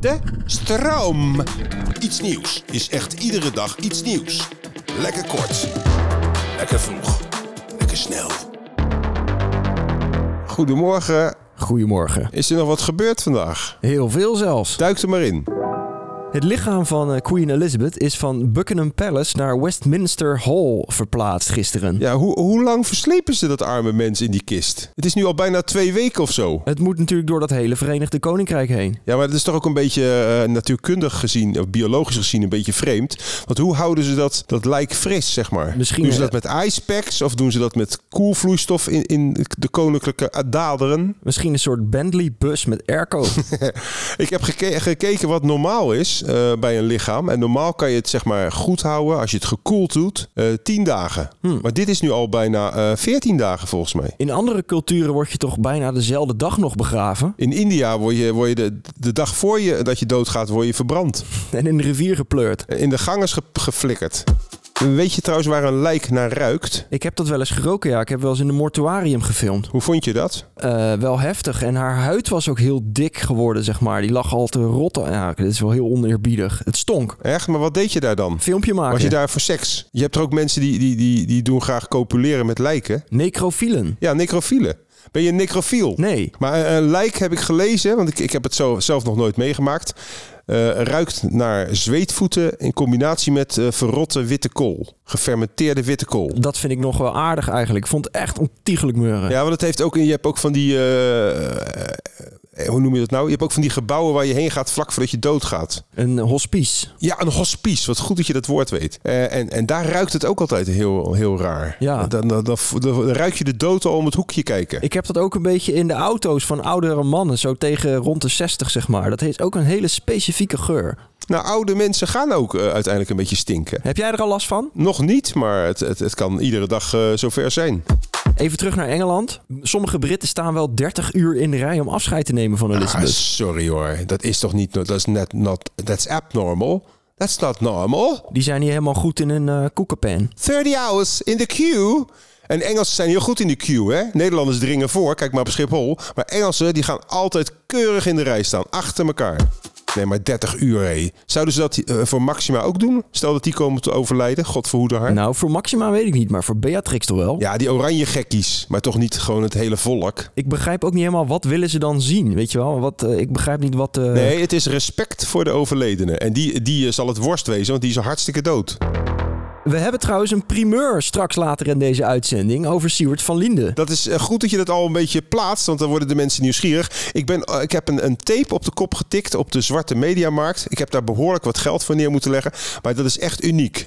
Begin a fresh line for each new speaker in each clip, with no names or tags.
De stroom. Iets nieuws is echt iedere dag iets nieuws. Lekker kort. Lekker vroeg. Lekker snel. Goedemorgen.
Goedemorgen.
Is er nog wat gebeurd vandaag?
Heel veel zelfs.
Duik er maar in.
Het lichaam van eh, Queen Elizabeth is van Buckingham Palace naar Westminster Hall verplaatst gisteren.
Ja, hoe, hoe lang verslepen ze dat arme mens in die kist? Het is nu al bijna twee weken of zo.
Het moet natuurlijk door dat hele Verenigde Koninkrijk heen.
Ja, maar dat is toch ook een beetje eh, natuurkundig gezien, of biologisch gezien, een beetje vreemd. Want hoe houden ze dat, dat lijk fris, zeg maar?
Misschien,
doen ze
eh,
dat met ijspacks of doen ze dat met koelvloeistof in, in de koninklijke eh, daderen?
Misschien een soort Bentley-bus met airco.
Ik heb geke- gekeken wat normaal is eh, bij een lichaam. En normaal kan je het zeg maar goed houden als je het gekoeld doet, eh 10 dagen.
Hm.
Maar dit is nu al bijna eh 14 dagen volgens mij.
In andere culturen word je toch bijna dezelfde dag nog begraven.
In India word je, word je de, de dag voor je dat je doodgaat, word je verbrand.
En in de rivier gepleurd.
eh, In de gang is ge- geflikkerd. Weet je trouwens waar een lijk naar ruikt?
Ik heb dat wel eens geroken, ja. Ik heb wel eens in een mortuarium gefilmd.
Hoe vond je dat?
Eh, wel heftig. En haar huid was ook heel dik geworden, zeg maar. Die lag al te rotten. Ja, dit is wel heel oneerbiedig. Het stonk.
Echt? Maar wat deed je daar dan?
Filmpje maken.
Was je daar voor seks? Je hebt er ook mensen die, die, die, die doen graag copuleren met lijken.
Necrofielen.
Ja, necrofielen. Ben je een necrofiel?
Nee.
Maar eh, een lijk heb ik gelezen, want ik, ik heb het zo, zelf nog nooit meegemaakt. eh, ruikt naar zweetvoeten in combinatie met eh, verrotte witte kool. Gefermenteerde witte kool.
Dat vind ik nog wel aardig eigenlijk. Ik vond het echt ontiegelijk meuren.
Ja, want het heeft ook, je hebt ook van die. eh, eh, hoe noem je dat nou? Je hebt ook van die gebouwen waar je heen gaat vlak voordat je doodgaat.
Een hospice.
Ja, een hospice. Wat goed dat je dat woord weet. Eh, en, en daar ruikt het ook altijd heel, heel raar.
Ja.
Dan, dan, dan, dan ruik je de dood al om het hoekje kijken.
Ik heb dat ook een beetje in de auto's van oudere mannen. Zo tegen rond de 60 zeg maar. Dat heeft ook een hele specifieke geur.
Nou, oude mensen gaan ook eh, uiteindelijk een beetje stinken.
Heb jij er al last van?
Nog niet, maar het, het, het kan iedere dag eh, zover zijn.
Even terug naar Engeland. Sommige Britten staan wel 30 uur in de rij om afscheid te nemen van
Ah,
Elizabeth.
sorry hoor, dat is toch niet... no- Dat is net not... That's abnormal. That's not normal.
Die zijn niet helemaal goed in een eh koekenpan.
30 hours in the queue. En Engelsen zijn heel goed in de queue, hè? Nederlanders dringen voor, kijk maar op Schiphol. Maar Engelsen, die gaan altijd keurig in de rij staan, achter elkaar. Nee, maar 30 uur, hé. Zouden ze dat eh, voor Maxima ook doen? Stel dat die komen te overlijden, God verhoede haar.
Nou, voor Maxima weet ik niet, maar voor Beatrix toch wel?
Ja, die oranje gekkies, maar toch niet gewoon het hele volk.
Ik begrijp ook niet helemaal wat willen ze dan zien, weet je wel? Wat, eh, ik begrijp niet wat... eh,
Nee, het is respect voor de overledene. En die, die eh, zal het worst wezen, want die is hartstikke dood.
We hebben trouwens een primeur straks later in deze uitzending over Siewert van Linden.
Dat is eh, goed dat je dat al een beetje plaatst, want dan worden de mensen nieuwsgierig. Ik, ben, eh, ik heb een, een tape op de kop getikt op de zwarte mediamarkt. Ik heb daar behoorlijk wat geld voor neer moeten leggen. Maar dat is echt uniek.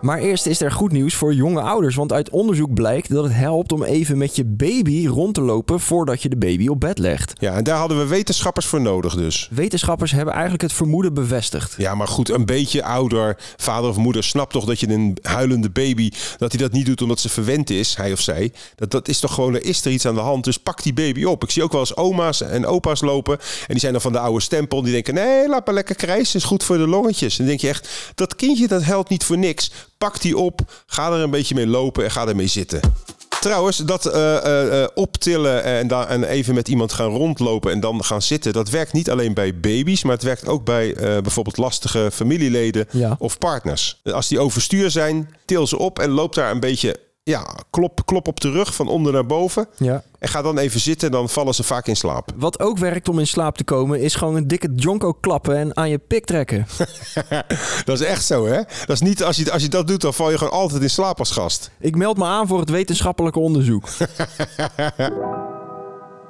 Maar eerst is er goed nieuws voor jonge ouders, want uit onderzoek blijkt dat het helpt om even met je baby rond te lopen voordat je de baby op bed legt.
Ja, en daar hadden we wetenschappers voor nodig dus.
Wetenschappers hebben eigenlijk het vermoeden bevestigd.
Ja, maar goed, een beetje ouder, vader of moeder, snapt toch dat je een huilende baby, dat hij dat niet doet omdat ze verwend is, hij of zij. Dat, dat is toch gewoon, er is er iets aan de hand, dus pak die baby op. Ik zie ook wel eens oma's en opa's lopen en die zijn dan van de oude stempel. en Die denken, nee, laat maar lekker krijsen, is goed voor de longetjes. En dan denk je echt, dat kindje dat helpt niet voor niks. Pak die op, ga er een beetje mee lopen en ga ermee zitten. Trouwens, dat eh, eh, eh, optillen en, dan, en even met iemand gaan rondlopen en dan gaan zitten, dat werkt niet alleen bij baby's, maar het werkt ook bij eh, bijvoorbeeld lastige familieleden
Ja.
of partners. Als die overstuur zijn, til ze op en loop daar een beetje Ja, klop, klop op de rug van onder naar boven.
Ja.
En ga dan even zitten, dan vallen ze vaak in slaap.
Wat ook werkt om in slaap te komen, is gewoon een dikke jonko klappen en aan je pik trekken.
Dat is echt zo, hè? Dat is niet, als, je, als je dat doet, dan val je gewoon altijd in slaap als gast.
Ik meld me aan voor het wetenschappelijke onderzoek.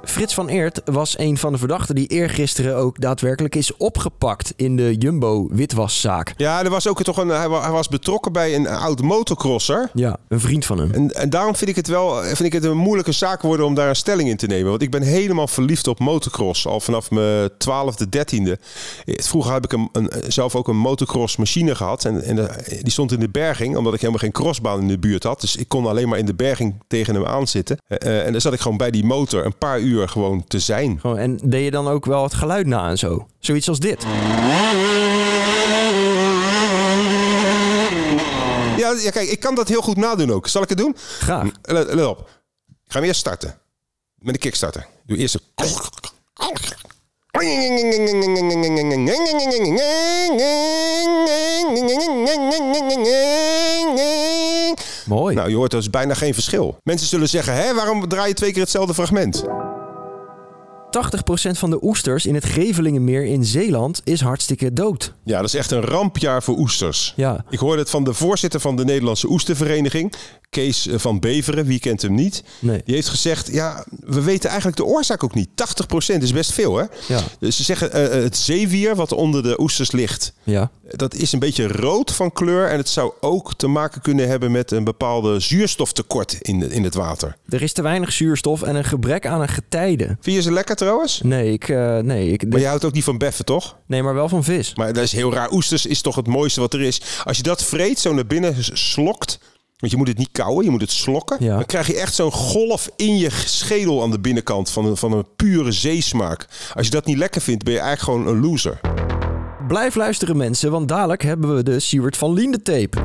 Frits van Eert was een van de verdachten die eergisteren ook daadwerkelijk is opgepakt in de Jumbo-witwaszaak.
Ja, er was ook toch een, hij wa- hij was betrokken bij een oud motocrosser.
Ja, een vriend van hem.
En, en daarom vind ik het wel vind ik het een moeilijke zaak worden om daar een stelling in te nemen. Want ik ben helemaal verliefd op motocross. Al vanaf mijn 12e, 13e. Vroeger heb ik een, een, zelf ook een motocross machine gehad. En, en eh, die stond in de berging, omdat ik helemaal geen crossbaan in de buurt had. Dus ik kon alleen maar in de berging tegen hem aanzitten. Eh, eh, en dan zat ik gewoon bij die motor een paar uur gewoon te zijn.
Gewoon, en deed je dan ook wel het geluid na en zo? Zoiets als dit.
Ja, ja kijk, ik kan dat heel goed nadoen ook. Zal ik het doen?
Graag.
Let, let op. Ik ga hem eerst starten. Met een kickstarter. Ik Doe eerst een...
Mooi.
Nou, je hoort dus bijna geen verschil. Mensen zullen zeggen, hè, waarom draai je twee keer hetzelfde fragment?
80% van de oesters in het Grevelingenmeer in Zeeland is hartstikke dood.
Ja, dat is echt een rampjaar voor oesters.
Ja.
Ik hoorde het van de voorzitter van de Nederlandse Oestervereniging, Kees eh, van Beveren, wie kent hem niet.
Nee.
Die heeft gezegd, ja, we weten eigenlijk de oorzaak ook niet. 80% is best veel, hè?
Ja.
Dus ze zeggen, eh, eh, het zeewier wat onder de oesters ligt,
Ja.
dat is een beetje rood van kleur. En het zou ook te maken kunnen hebben met een bepaalde zuurstoftekort in, de- in het water.
Er is te weinig zuurstof en een gebrek aan een getijde.
Vind je ze lekker trouwens?
Nee, ik, eh, nee, ik
Maar je houdt ook niet van beffen, toch?
nee, maar wel van vis.
Maar dat is heel raar. Oesters is toch het mooiste wat er is. Als je dat vreet, zo naar binnen s- slokt. Want je moet het niet kauwen, je moet het slokken.
Ja.
Dan krijg je echt zo'n golf in je schedel aan de binnenkant van een, van een pure zeesmaak. Als je dat niet lekker vindt, ben je eigenlijk gewoon een loser.
Blijf luisteren mensen, want dadelijk hebben we de Siewert van Liende tape.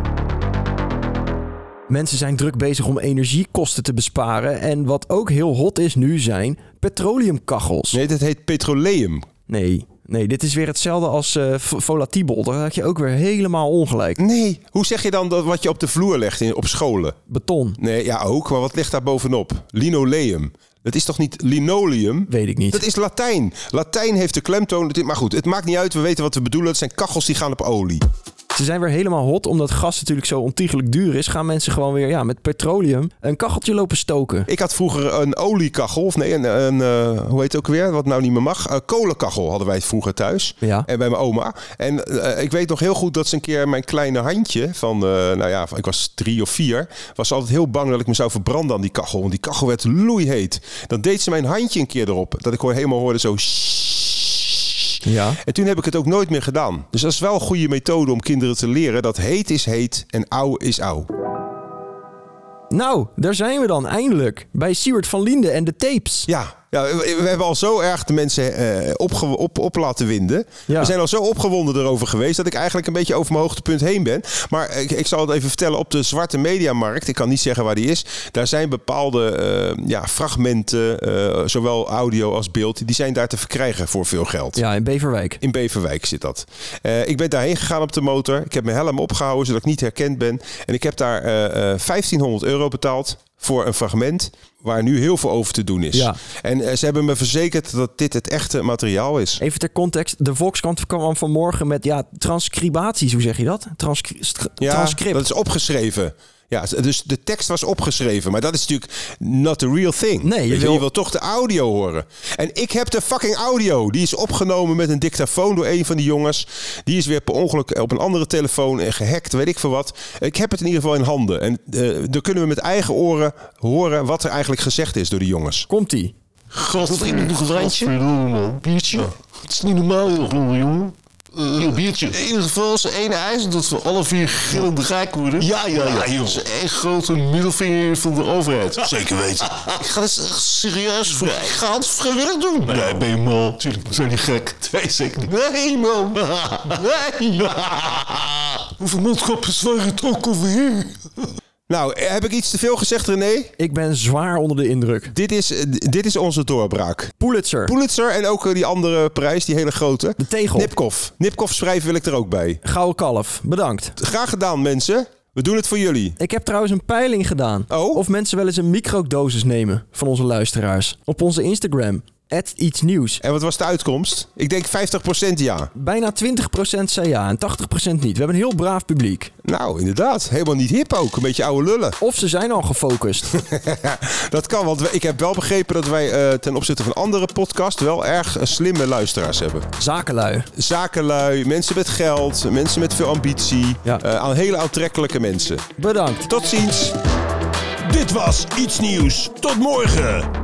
Mensen zijn druk bezig om energiekosten te besparen. En wat ook heel hot is nu zijn petroleumkachels.
Nee, dat heet petroleum.
Nee, nee, dit is weer hetzelfde als eh, v- volatibel. Daar had je ook weer helemaal ongelijk.
Nee, hoe zeg je dan dat wat je op de vloer legt in, op scholen?
Beton,
Nee, ja ook, maar wat ligt daar bovenop? Linoleum. Dat is toch niet linoleum?
weet ik niet.
Dat is Latijn. Latijn heeft de klemtoon. Het- Maar goed, het maakt niet uit. We weten wat we bedoelen. Het zijn kachels die gaan op olie.
Ze zijn weer helemaal hot, omdat gas natuurlijk zo ontiegelijk duur is. Gaan mensen gewoon weer ja, met petroleum een kacheltje lopen stoken.
Ik had vroeger een oliekachel, of nee, een, een eh, hoe heet het ook weer, wat nou niet meer mag. Een kolenkachel hadden wij het vroeger thuis.
Ja.
En bij mijn oma. En eh, ik weet nog heel goed dat ze een keer mijn kleine handje van, eh, nou ja, ik was drie of vier, was altijd heel bang dat ik me zou verbranden aan die kachel. Want die kachel werd loeiheet. Dan deed ze mijn handje een keer erop, dat ik hoor- helemaal hoorde zo.
Ja.
En toen heb ik het ook nooit meer gedaan. Dus dat is wel een goede methode om kinderen te leren dat heet is heet en ouw is ouw.
Nou, daar zijn we dan eindelijk. Bij Siewert van Liende en de tapes.
Ja, ja we, we hebben al zo erg de mensen eh, opge- op, op laten winden.
Ja.
We zijn al zo opgewonden erover geweest dat ik eigenlijk een beetje over mijn hoogtepunt heen ben. Maar ik, ik zal het even vertellen, op de zwarte mediamarkt, ik kan niet zeggen waar die is, daar zijn bepaalde eh, ja, fragmenten, eh, zowel audio als beeld, die zijn daar te verkrijgen voor veel geld.
Ja, in Beverwijk.
In Beverwijk zit dat. Eh, ik ben daarheen gegaan op de motor. Ik heb mijn helm opgehouden zodat ik niet herkend ben. En ik heb daar eh, eh, 1500 euro betaald voor een fragment waar nu heel veel over te doen is.
Ja.
En eh, ze hebben me verzekerd dat dit het echte materiaal is.
Even ter context, de Volkskrant kwam vanmorgen met ja, transcribaties, hoe zeg je dat? Transcri- st- transcript.
dat is opgeschreven. Ja, dus de tekst was opgeschreven. Maar dat is natuurlijk not the real thing.
Nee, je
Weet
wil-
je wil toch de audio horen. En ik heb de fucking audio. Die is opgenomen met een dictafoon door een van die jongens. Die is weer per ongeluk op een andere telefoon en gehackt, weet ik veel wat. Ik heb het in ieder geval in handen. En eh, dan kunnen we met eigen oren horen wat er eigenlijk gezegd is door die jongens.
Komt-ie.
Godverdomme, nog een wijntje? biertje. Het is niet normaal, joh, jongen, jongen. Heel biertje. In ieder geval is er één eis dat we alle vier gillend rijk worden. Ja, ja, ja. joh. Dat is één grote middelvinger van de overheid. Zeker weten. Ik ga dit echt serieus voor. Ik ga het vrijwillig doen. Nee, ben je mal. Tuurlijk, we zijn niet gek. Nee, zeker niet. Nee, man. Nee. Hoeveel mondkapjes waren het ook alweer?
Nou, eh, heb ik iets te veel gezegd, René?
Ik ben zwaar onder de indruk.
Dit is, eh, dit is onze doorbraak.
Pulitzer.
Pulitzer en ook eh, die andere prijs, die hele grote.
de tegel.
Nipkoff. Nipkoff schrijven wil ik er ook bij.
Gouden kalf. Bedankt.
Graag gedaan, mensen. We doen het voor jullie.
Ik heb trouwens een peiling gedaan.
Oh?
Of mensen wel eens een microdosis nemen van onze luisteraars. Op onze Instagram. iets nieuws.
En wat was de uitkomst? Ik denk 50% ja.
Bijna 20% zei ja en 80% niet. We hebben een heel braaf publiek.
Nou, inderdaad. Helemaal niet hip ook. Een beetje oude lullen.
Of ze zijn al gefocust.
Dat kan, want we- ik heb wel begrepen dat wij eh, ten opzichte van andere podcasts wel erg eh, slimme luisteraars hebben.
Zakenlui.
Zakenlui, mensen met geld, mensen met veel ambitie.
Ja.
Eh, aan hele aantrekkelijke mensen.
Bedankt.
Tot ziens.
Dit was Iets Nieuws. Tot morgen.